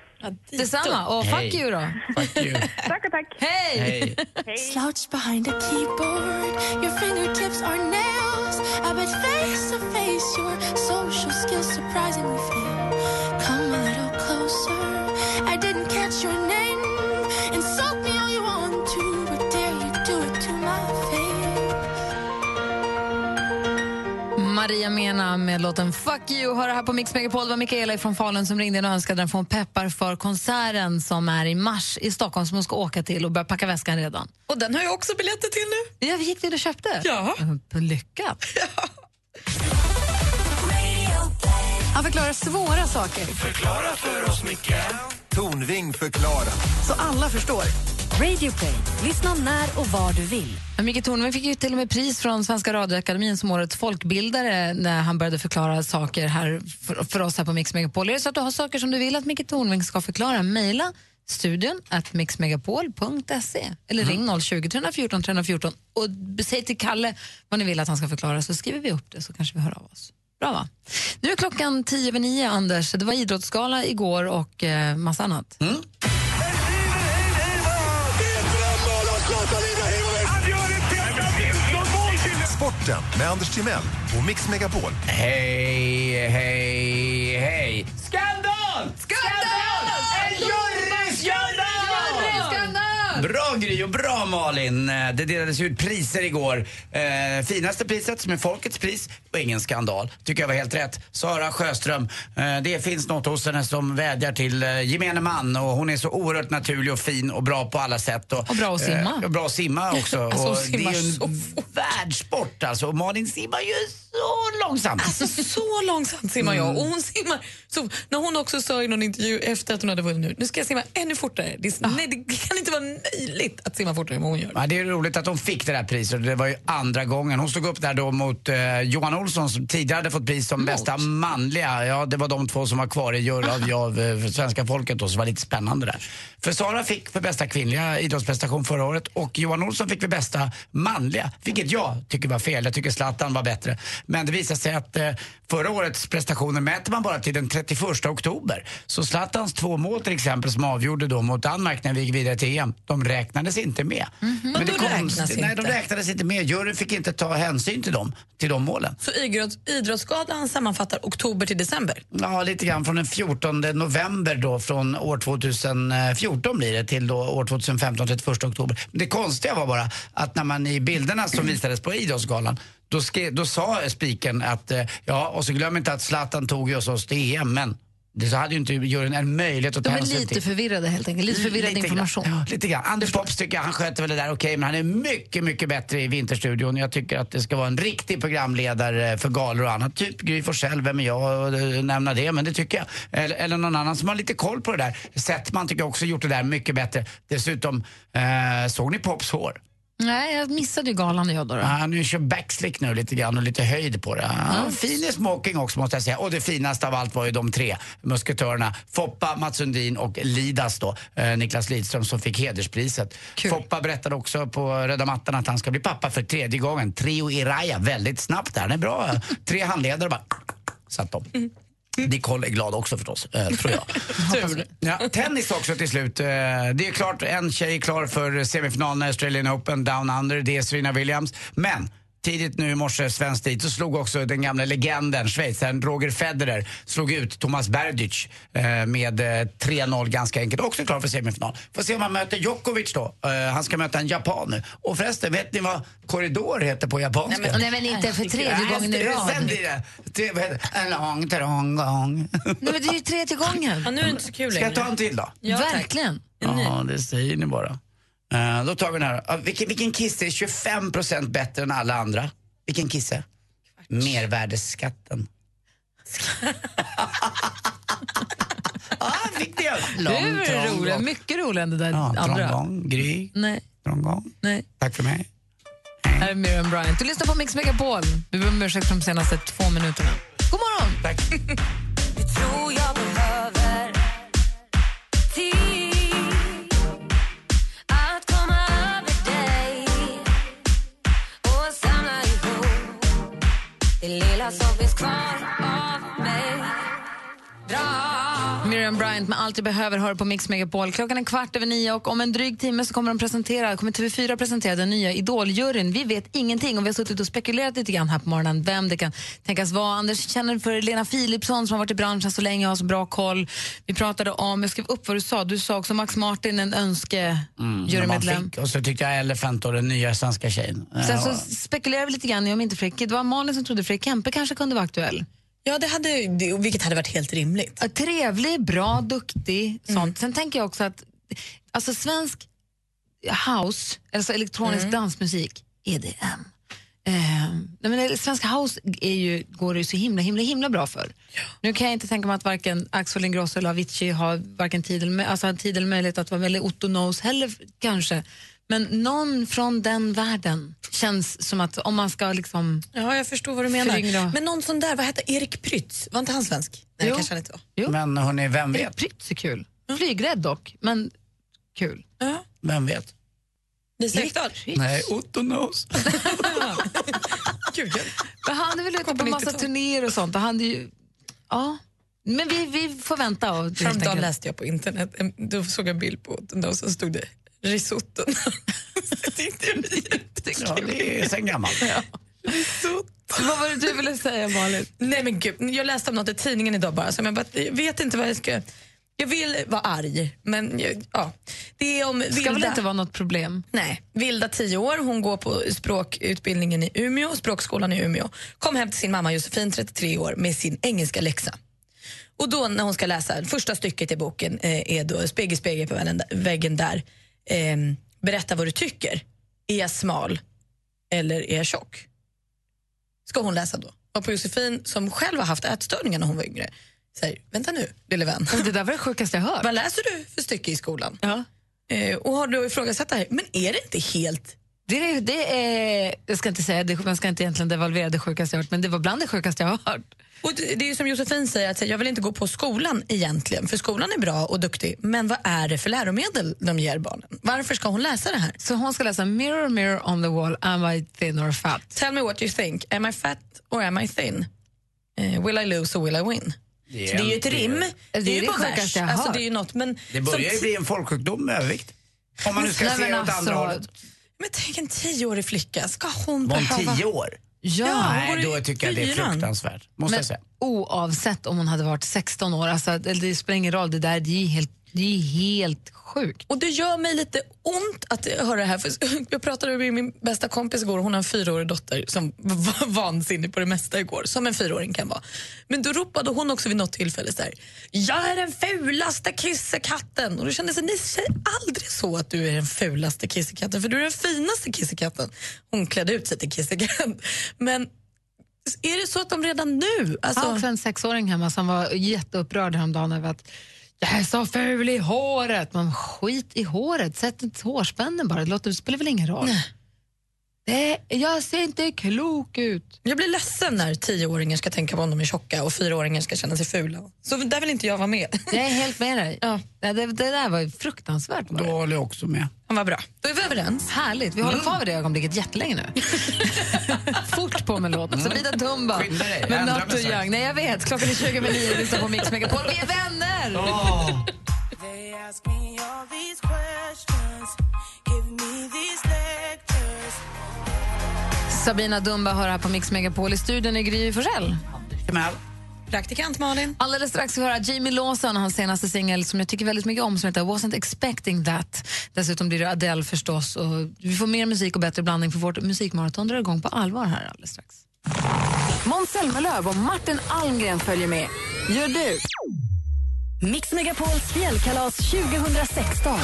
C: Detsamma, och
E: Hej.
C: fuck you då.
E: Fuck you.
U: Tack och tack.
C: Hej!
E: Hej.
R: Slouched behind a keyboard, your fingertips are nails. I bet face to face, your social skills surprisingly fail. Come a little closer, I didn't catch your name. Insult me all you want to, but dare you do it to my face?
C: Maria Mena med låten Fuck you hör det här på Mix Megapol. Det var Mikaela från Falun som ringde in och önskade den från peppar för konserten som är i mars i Stockholm som hon ska åka till och börja packa väskan redan.
F: Och den har jag också biljetter till nu.
C: Jag gick till och köpte.
F: Ja.
C: Lyckat.
J: Han förklarar svåra saker
L: Förklara för oss, Micke.
K: Tornving förklarar.
J: så alla förstår.
A: Radio Play. Lyssna när och var du vill.
C: Men Micke Tornving fick ju till och med pris från Svenska radioakademin som årets folkbildare när han började förklara saker här för, för oss här på Mix Megapol. Är det så att du har saker som du vill att Micke Tornving ska förklara, mejla studion at mixmegapol.se eller
E: Mm.
C: ring 020 314 314 och b- säg till Kalle vad ni vill att han ska förklara så skriver vi upp det så kanske vi hör av oss. Bra va? Nu är klockan tio över nio, Anders. Det var idrottsgala igår och eh, massa annat.
E: Mm.
K: Sporten med Anders Timell och Mix Megapol.
E: Hej, hej, hej.
I: Skandal! Skandal! En
E: juryskandal! Bra Gry och bra Malin. Eh, Det delades ut priser igår. Eh, finaste priset som är folkets pris och ingen skandal. Tycker jag var helt rätt. Sara Sjöström. Eh, det finns något hos henne som vädjar till eh, gemene man och hon är så oerhört naturlig och fin och bra på alla sätt. Och,
C: Och bra att simma.
E: Eh, och bra att simma också.
C: Alltså, hon
E: och
C: simmar
E: det är ju en världssport alltså. Och Malin simmar ju så långsamt.
F: Alltså så långsamt simmar jag. Och
E: Mm.
F: hon simmar, så när hon också sa i någon intervju efter att hon hade vunnit nu, nu ska jag simma ännu fortare. Det,
C: Ah.
F: är- nej, det kan inte vara möjligt att simma fortare än vad hon gör.
E: Ja, det är roligt att hon fick det där priset. Det var ju andra gången. Hon stod upp där då mot eh, Johan Olsson som tidigare hade fått pris som bästa manliga. Ja, det var de två som var kvar i jury av, av eh, för svenska folket då, så det var lite spännande där. För Sara fick för bästa kvinnliga idrottsprestation förra året och Johan Olsson fick för bästa manliga, vilket jag tycker var fel. Jag tycker Zlatan var bättre. Men det visade sig att eh, förra årets prestationer mäter man bara till den 31 oktober. Så Zlatans två mål till exempel som avgjorde då mot Danmark när vi gick vidare till EM, de räknades inte med.
C: Mhm.
E: Men
F: Vadå
E: det kom,
F: räknas
E: nej, de
F: inte?
E: räknades inte med. Juryn fick inte ta hänsyn till dem, till de målen.
F: Så idrotts, Idrottsgalan sammanfattar oktober till december.
E: Ja, lite grann från den 14 november då, från år 2014 blir det, till då år 2015, 31 oktober. Men det konstiga var bara att när man i bilderna som visades på Idrottsgalan då, skrev, då sa spiken att, eh, ja, och så glöm inte att Zlatan tog ju oss oss till EM, men det så hade ju inte juryn en möjlighet att ta
C: De är
E: hänsyn
C: lite
E: till.
C: förvirrade helt enkelt. Lite förvirrad
E: Lite grann.
C: information.
E: Ja, lite grann. Anders Pops tycker jag, han sköter väl det där okej, men han är mycket, mycket bättre i Vinterstudion. Jag tycker att det ska vara en riktig programledare för galor och annat. Typ Gry Forssell, vem är jag och eh, nämna det, men det tycker jag. Eller, eller någon annan som har lite koll på det där. Settman tycker jag också gjort det där mycket bättre. Dessutom, eh, såg ni Pops hår?
C: Nej, jag missade ju galan jag då. då.
E: Ja, Han är ju kör backslick nu lite grann och lite höjd på det. Han var fin i smoking också måste jag säga. Och det finaste av allt var ju de tre musketörerna. Foppa, Mats Sundin och Lidas då, eh, Niklas Lidström som fick hederspriset. Foppa berättade också på röda mattan att han ska bli pappa för tredje gången. Trio i raja, väldigt snabbt där. Han är
C: *laughs*
E: bra. tre handledare bara satt de. Nicole är glad också förstås, eh, *laughs* tror jag. Ja, tennis också till slut. Eh, Det är klart, en tjej är klar för semifinalen i Australian Open, Down Under, det är Serena Williams. Men tidigt nu i morse, svensk tid, så slog också den gamla legenden, schweizaren Roger Federer, slog ut Thomas Berdych eh, med eh, 3-0 ganska enkelt. Också klar för semifinal. Får se om han möter Djokovic då. Eh, Han ska möta en japan nu. Och förresten, vet ni vad korridor heter på japanska?
C: Nej, men- nej, men inte för tredje
E: Nej,
C: gången i rad.
E: Sen blir det, det vad heter det? en lång, trång gång.
C: Nej, men det är ju tredje gången.
F: nu är det inte så kul
E: Ska jag ta en till då?
C: Verkligen.
E: Ja, det säger ni bara. Eh, då tar vi den här. Uh, vilken, vilken kisse är 25 bättre än alla andra? Vilken kisse? Mervärdesskatten. ah, fick det!
C: Du är
E: trång
C: rolig.
E: gång.
C: Mycket roligare än det där
E: Ja,
C: andra.
E: Trongång, Gry,
C: Nej,
E: trongång.
C: nej.
E: Tack för mig.
C: Här är Miriam Bryant. Du lyssnar på Mix Megapol. Vi ber om ursäkt för de senaste två minuterna. God morgon!
E: Tack.
I: tror jag behöver tid att komma över dig och samla ihop det lilla som finns kvar av mig. Dra
C: Miriam Bryant med Allt du behöver hör på Mix Megapol. Klockan är kvart över nio och om en dryg timme så kommer, de presentera, kommer TV4 presentera den nya Idoljuryn. Vi vet ingenting och vi har suttit och spekulerat lite grann här på morgonen vem det kan tänkas vara. Anders känner för Lena Philipsson som har varit i branschen så länge och har så bra koll. Vi pratade om, jag skrev upp vad du sa, du sa också Max Martin, en
E: Mm, de man
C: önskejurymedlem.
E: fick. Och så tyckte jag Elephant och den nya svenska tjejen.
C: Sen
E: Eh,
C: så spekulerade vi lite grann i om inte Fredrik, det var Malin som trodde Fredrik Kempe kanske kunde vara aktuell.
F: Ja, det hade, det- vilket hade varit helt rimligt. Mm.
C: Ja, Trevlig, bra, duktig. Sånt. Sen tänker jag också att alltså svensk house, alltså elektronisk
F: Mm.
C: dansmusik, E EDM. Eh, nej men det- svensk house är ju, går det ju så himla himla himla bra för. Nu kan jag inte tänka mig att varken Axel Ingrosso eller Avicii har varken tid eller, mö- alltså, har tid eller möjlighet att vara med, eller Otto Knows heller f- kanske. Men någon från den världen känns som att om man ska liksom...
F: Ja, jag förstår vad du menar. Men någon sån där, vad hette Erik Prytz? Var inte han svensk? Nej,
C: Jo.
F: det kanske han inte var.
E: Men hörni, vem vet?
C: Prytz är kul. Flygrädd dock, men kul.
E: Vem vet?
C: Lisa
E: Ekdahl?
C: *laughs*
E: Nej, Otto knows.
C: Men han är väl ute på massa turnéer och sånt. Och han är ju, ja. Men vi, vi får vänta. Och, helt
F: Häromdagen
C: enkelt.
F: läste jag på internet, en- då såg jag en bild på den där och så stod det risotto.
E: Ja, det är sen
F: *laughs*
C: *laughs*
E: gammalt.
F: Vad var det du ville säga, Malin? Nej, men gud, jag läste om något i tidningen idag bara, som jag bara, jag vet inte vad jag ska... Jag vill vara arg, men jag, ja. Det är om
C: Det ska väl inte vara något problem?
F: Nej. Vilda, 10 år, hon går på språkutbildningen i Umeå, språkskolan i Umeå. Kom hem till sin mamma Josefin, 33 år, med sin engelska läxa. Och då när hon ska läsa, första stycket i boken eh, är då Spegel, spegel på väggen- väggen där. ehm, berätta vad du tycker. Är jag smal eller är jag tjock? Ska hon läsa då. Och på Josefin som själv har haft ätstörningar när hon var yngre. Säger, vänta nu lille vän.
C: Det där var det sjukaste jag hört.
F: Vad läser du för stycke i skolan? Eh, och har du ifrågasatt det här? Men är det inte helt...
C: Det, är- det är, jag ska inte säga, det, man ska inte egentligen devalvera det sjukaste jag hört, men det var bland det sjukaste jag har hört.
F: Och det det är ju som Josefin säger, att så här, jag vill inte gå på skolan egentligen, för skolan är bra och duktig, men vad är det för läromedel de ger barnen? Varför ska hon läsa det här?
C: Så hon ska läsa Mirror, mirror on the wall, am I thin or fat?
F: Tell me what you think, am I fat or am I thin? Eh, will I lose or will I win?
E: Det
F: Så
E: är
F: det är ju ett
E: en-
F: rim,
E: det
F: det
E: är
F: är
E: det
F: ju på
E: sjukaste
F: vers.
E: jag har
F: Alltså,
E: hört.
F: det är ju något, men
E: Det börjar ju
F: som-
E: bli en folksjukdom med övervikt. Om man nu ska
F: Nej,
E: se
F: men
E: åt
C: alltså-
E: andra hållet.
F: Men tänk en tioårig flicka, ska hon
E: Var
F: behöva...
E: hon tio år?
C: Ja, hon går
E: Nej,
C: i
E: då tycker jag det är
C: fyran.
E: fruktansvärt. Måste
C: Men
E: jag säga.
C: oavsett om hon hade varit 16 år, alltså, eller det spelar ingen roll, det där det är helt, det är helt sjukt.
F: Och det gör mig lite ont att höra det här. För *laughs* jag pratade med min bästa kompis igår, hon har en fyraårig dotter som *laughs* var vansinnig på det mesta igår, som en fyraåring kan vara. Men då ropade hon också vid något tillfälle så här, jag är den fulaste kissekatten. Och då kände jag så här, ni säger aldrig så att du är den fulaste kissekatten, för du är den finaste kissekatten. Hon klädde ut sig till kissekatt. *laughs* Men är det så att de redan nu...
C: Jag har
F: Alltså,
C: också en sexåring hemma som var jätteupprörd häromdagen över att jag är så ful i håret. Man skit i håret, sätt inte hårspännen bara. Det låter- det spelar väl ingen roll. Det, jag ser inte klok ut.
F: Jag blir ledsen när tioåringar ska tänka på om de är tjocka och fyraåringar ska känna sig fula. Så där vill inte jag vara med.
C: Jag
F: *laughs*
C: är helt med dig. Ja. Det, det där var ju fruktansvärt. Bara.
E: Då håller jag också med.
F: Han var bra. Mm. Då är vi överens.
C: Härligt. Vi håller kvar vid det ögonblicket jättelänge
F: *laughs*
C: nu. Fort på med låten.
F: Mm.
C: Så Vida Tumba
E: Skynda dig, jag
C: med
E: ändrar
C: Not
E: mig
C: Too
E: strax.
C: Young. Nej, jag vet. Klockan är 20 över 9 och lyssnar på Mix Megapol. Vi är vänner!
R: They ask me all these questions, give me these lectures.
C: Sabina Dumba hör här på Mix Megapol. I studion är Gry Forssell.
F: Praktikant Malin.
C: Alldeles strax ska vi höra Jamie Lawson och hans senaste singel som jag tycker väldigt mycket om som heter Wasn't expecting that. Dessutom blir det Adele förstås. Och vi får mer musik och bättre blandning för vårt musikmaraton drar igång på allvar här alldeles strax.
J: Måns Zelmerlöw och Martin Almgren följer med. Gör du! Mix Megapols fjällkalas 2016.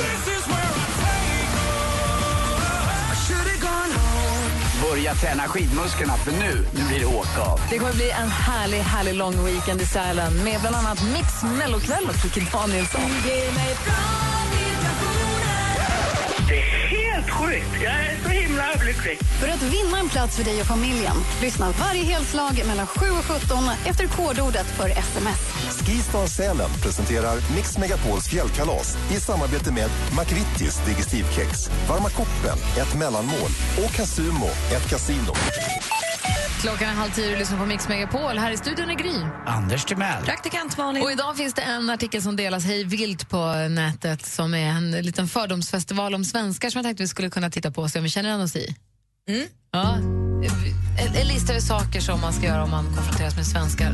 E: Börja träna skidmusklerna för nu, nu blir det åka av.
J: Det kommer bli en härlig, härlig lång weekend i Sälen med bland annat Mix Mellokväll och Kikki Danielsson.
R: Det är helt sjukt. Jag är så himla lycklig.
G: För att vinna en plats för dig och familjen, lyssna varje helslag mellan 7 och 17 efter kodordet för sms.
K: Skistar Sälen presenterar Mix Megapols fjällkalas i samarbete med McVittys Digestivkex, Varma koppen, ett mellanmål och Casumo, ett kasino.
C: Klockan är halv tio och du lyssnar på Mix Megapol. Här i studion är Gry.
E: Anders Timell.
F: Praktikant Malin.
C: Och idag finns det en artikel som delas hej vilt på nätet som är en liten fördomsfestival om svenskar som jag tänkte vi skulle kunna titta på och se om vi känner igen oss i.
F: Mm.
C: Ja. En, en lista över saker som man ska göra om man konfronteras med svenskar.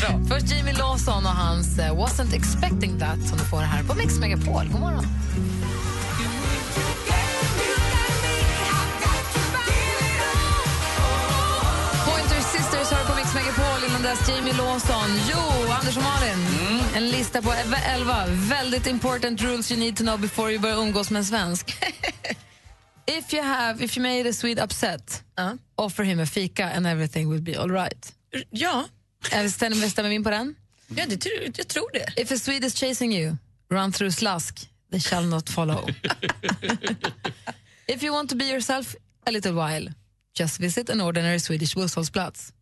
C: Bra. Först Jimmy Lawson och hans eh, Wasn't expecting that som du får här på Mix Megapol. God morgon. Pointer Sisters hör på Mix Megapol. Innan dess Jamie Lawson. Jo, Anders och Malin. En lista på 11 väldigt important rules you need to know before you börjar umgås med en svensk. if you have, if you made a Swede upset, offer him a fika and everything will be alright.
F: Ja.
C: Stämmer stämmer vi in på den?
F: Ja, det, tror- jag tror det.
C: If a Swede is chasing you, run through slask, they shall
F: *laughs*
C: not follow. If you want to be yourself a little while, just visit an ordinary Swedish busshållplats.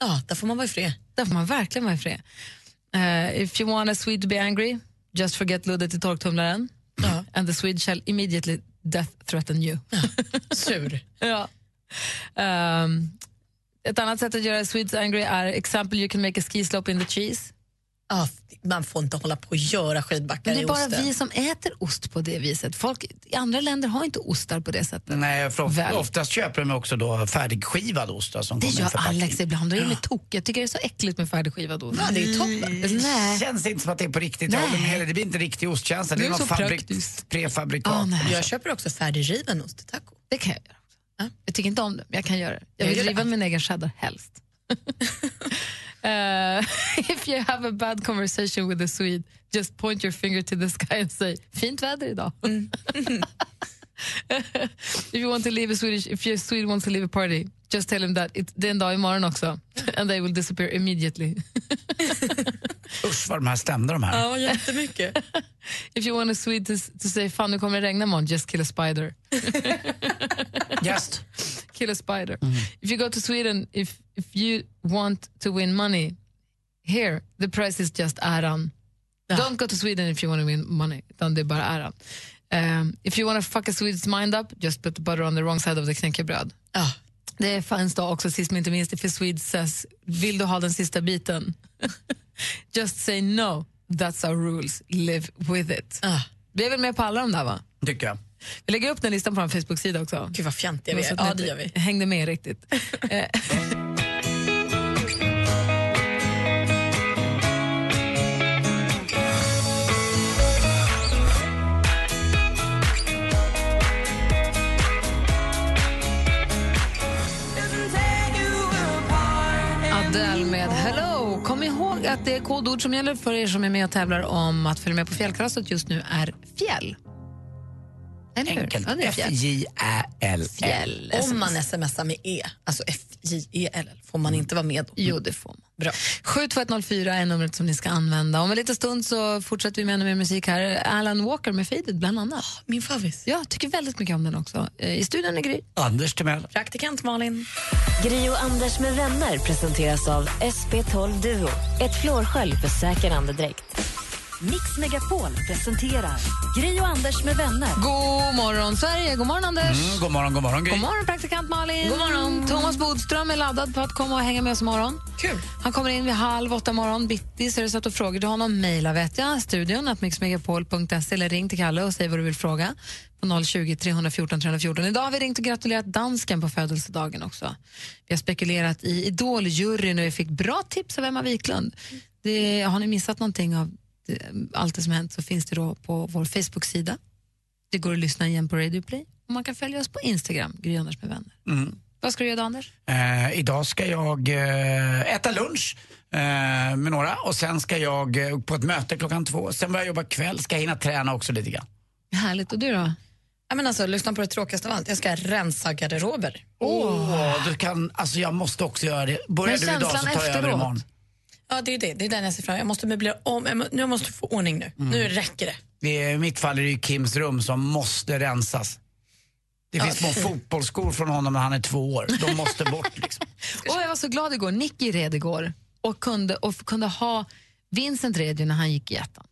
F: Ja, där får man vara i fred.
C: Där får man verkligen vara i fred. Eh, if you want a Swede to be angry, Just Forget Ludde till torktumlaren. And the Swede shall immediately death threaten you.
F: Sur.
C: ja. Ehm, ett annat sätt att göra Swedes angry är example you can make a ski slope in the cheese.
F: Ah, man får inte hålla på och göra skidbackar
C: Men det är
F: i
C: bara
F: osten.
C: vi som äter ost på det viset. Folk i andra länder har inte ostar på det sättet.
E: Nej, för of-
C: Väl.
E: oftast köper de också då färdigskivad ost då, som
C: Det
E: kommer i
C: gör
E: förpackning.
C: Alex ibland, då är det med tok. Jag tycker det är så äckligt med färdigskivad ost.
E: Ja, det är toppen.
C: Nej.
E: Känns inte som att det är på riktigt. Jag
C: Nej.
E: håller med dig. Det blir inte riktig ostkänsla. Det är
C: Det är
E: något
C: så
E: fabrik- prefabrikat.
C: Ah, nej.
F: Jag köper också färdigriven ost till taco.
C: Det kan jag göra. också. Jag tycker inte om det, men jag kan göra det. Jag
F: Jag
C: vill
F: gör det
C: driva min egen cheddar helst.
F: *laughs*
C: Eh, *laughs* if you have a bad conversation with a Swede, just point your finger to the sky and say fint väder idag.
F: Mm.
C: *laughs* if you want to leave a Swedish, if your Swede wants to leave a party, just tell him that it, det är en dag imorgon
F: Mm.
C: också and they will disappear immediately.
E: Usch vad de här stämde de
C: *laughs*
E: här.
F: jättemycket.
C: if you want a Swede to, to say fan nu kommer det regna imorgon, just kill a spider.
E: Just.
C: Kill a spider. If you go to Sweden, if, if you want to win money, here the price is just äran. Don't go to Sweden if you want to win money, utan det är bara äran. Um, if you want to fuck a Swede's mind up, just put the butter on the wrong side of the knäckebröd. Det fanns då också, sist men inte minst, för Swedes says, vill du ha den sista biten? *laughs* just say no, that's our rules, live with it. Vi är väl med på alla de där va?
E: Tycker jag.
C: Vi lägger upp den listan på vår Facebook-sida också.
F: Gud vad fjantiga vi
C: Något
F: är.
C: sånt
F: Ja,
C: där.
F: det gör vi.
C: Hängde med riktigt.
F: *laughs*
C: Eh, Adele med Hello. Kom ihåg att det är kodord som gäller för er som är med och tävlar om att följa med på fjällkalaset just nu är fjäll. Eller hur?
E: Enkelt.
C: Ja, det är fjäll.
E: F-J-Ä-L.
C: Fjäll.
F: Om man smsar med E, alltså F-J-E-L, får man inte vara med då?
C: Mm. Jo, det får man. 72104 är numret som ni ska använda. Om en liten stund så fortsätter vi med ännu mer musik här. Alan Walker med Faded bland annat.
F: Ah, Min favvis.
C: Jag tycker väldigt mycket om den också. Eh, I studion är Gry.
E: Anders Timell.
F: Praktikant Malin.
A: Gri och Anders med vänner presenteras av SP12 Duo. Ett flårskölj för säker andedräkt.
J: Mix Megapol presenterar Gri och Anders med vänner.
C: God morgon, Sverige. God morgon, Anders.
E: Mm, god morgon, god morgon Gry.
C: God morgon, praktikant Malin.
E: God morgon.
C: Thomas Bodström är laddad på att komma och hänga med oss imorgon. Kul. Han kommer in vid halv åtta morgon bitti så är det så att du har frågor till honom. Mejla vet jag, studion att mixmegapol.se eller ring till Kalle och säg vad du vill fråga på 020 314 314. Idag har vi ringt och gratulerat dansken på födelsedagen också. Vi har spekulerat i Idoljuryn och vi fick bra tips av Emma Wiklund. Det, har ni missat någonting av eh, allt det som hänt så finns det då på vår Facebook-sida det går att lyssna igen på Radio Play och man kan följa oss på Instagram, Gry Anders med vänner.
E: Mm.
C: Vad ska du göra idag, Anders?
E: Eh, idag ska jag eh, äta lunch eh, med några och sen ska jag eh, på ett möte klockan två. Sen börjar jag jobba kväll. Ska jag hinna träna också lite grann.
C: Härligt. Och du då?
F: Ja, men alltså, lyssna på det tråkigaste av allt. Jag ska rensa garderober.
E: Åh, du kan, alltså jag måste också göra det. Börjar
F: Men
E: du idag så
F: känslan
E: tar jag över
F: efteråt?
E: imorgon.
F: Ja, det är det. Det är den jag ser fram emot. Jag måste möblera om. Jag må- Nu måste jag få ordning nu.
C: Mm.
F: Nu räcker det.
E: Det är, I mitt fall är det ju Kims rum som måste rensas. Det finns
C: Ja, fy.
E: små fotbollsskor från honom när han är två år. De måste
C: *laughs*
E: bort. Liksom.
C: Och jag var så glad igår. Nicky red igår och kunde, och kunde ha Vincent red ju när han gick i ettan.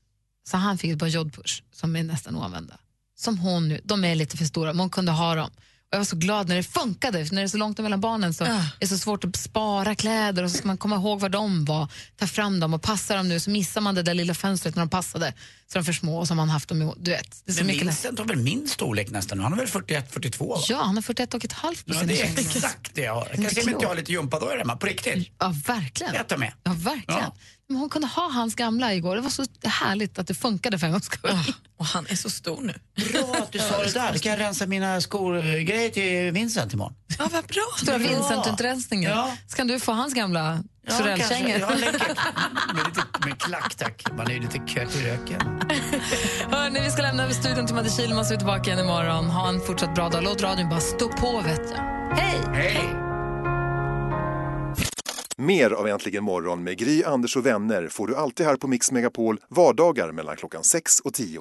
C: Så han fick ett par jodpush som är nästan oanvända. Som hon nu. De är lite för stora, men hon kunde ha dem. Och jag var så glad när det funkade, för när det är så långt mellan barnen så är det så svårt att spara kläder och så ska man komma ihåg var de var, ta fram dem och passa dem nu så missar man det där lilla fönstret när de passade så de är för små och så har man haft dem i, du vet. Det är så
E: Men
C: mycket lätt.
E: Vincent har väl min storlek nästan nu? Han är väl 41-42? va?
C: Ja, han har 41 och ett halvt på
E: Ja,
C: sin
E: det är
C: tjej.
E: exakt det jag har.
C: Inte
E: Kanske om inte jag har
C: klok.
E: lite gympadojor hemma, på riktigt.
C: Ja, verkligen.
E: Jag tar med.
C: Ja, verkligen.
E: Ja.
C: Men hon kunde ha hans gamla igår. Det var så härligt att det funkade för en gångs skull.
F: Och han är så stor nu.
E: Bra att du sa det där. Då kan jag rensa mina skolgrejer till Vincent imorgen.
F: Ja, vad bra.
C: *laughs* Stora
E: Ja.
C: Vincent-utrensningen.
E: Ja.
C: Så kan du få hans gamla
E: Ja,
C: sorellkängor.
E: kanske. Jag lägger- Med, lite, med klack tack. Man är ju lite kött i röken.
C: Hörrni, vi ska lämna över studion till Madde Kihlman så är vi tillbaka igen imorgon. Ha en fortsatt bra dag. Låt radion bara stå på, vet jag. Hej!
E: Hej!
K: Mer av Äntligen morgon med Gry, Anders och vänner får du alltid här på Mix Megapol vardagar mellan klockan 6 och 10.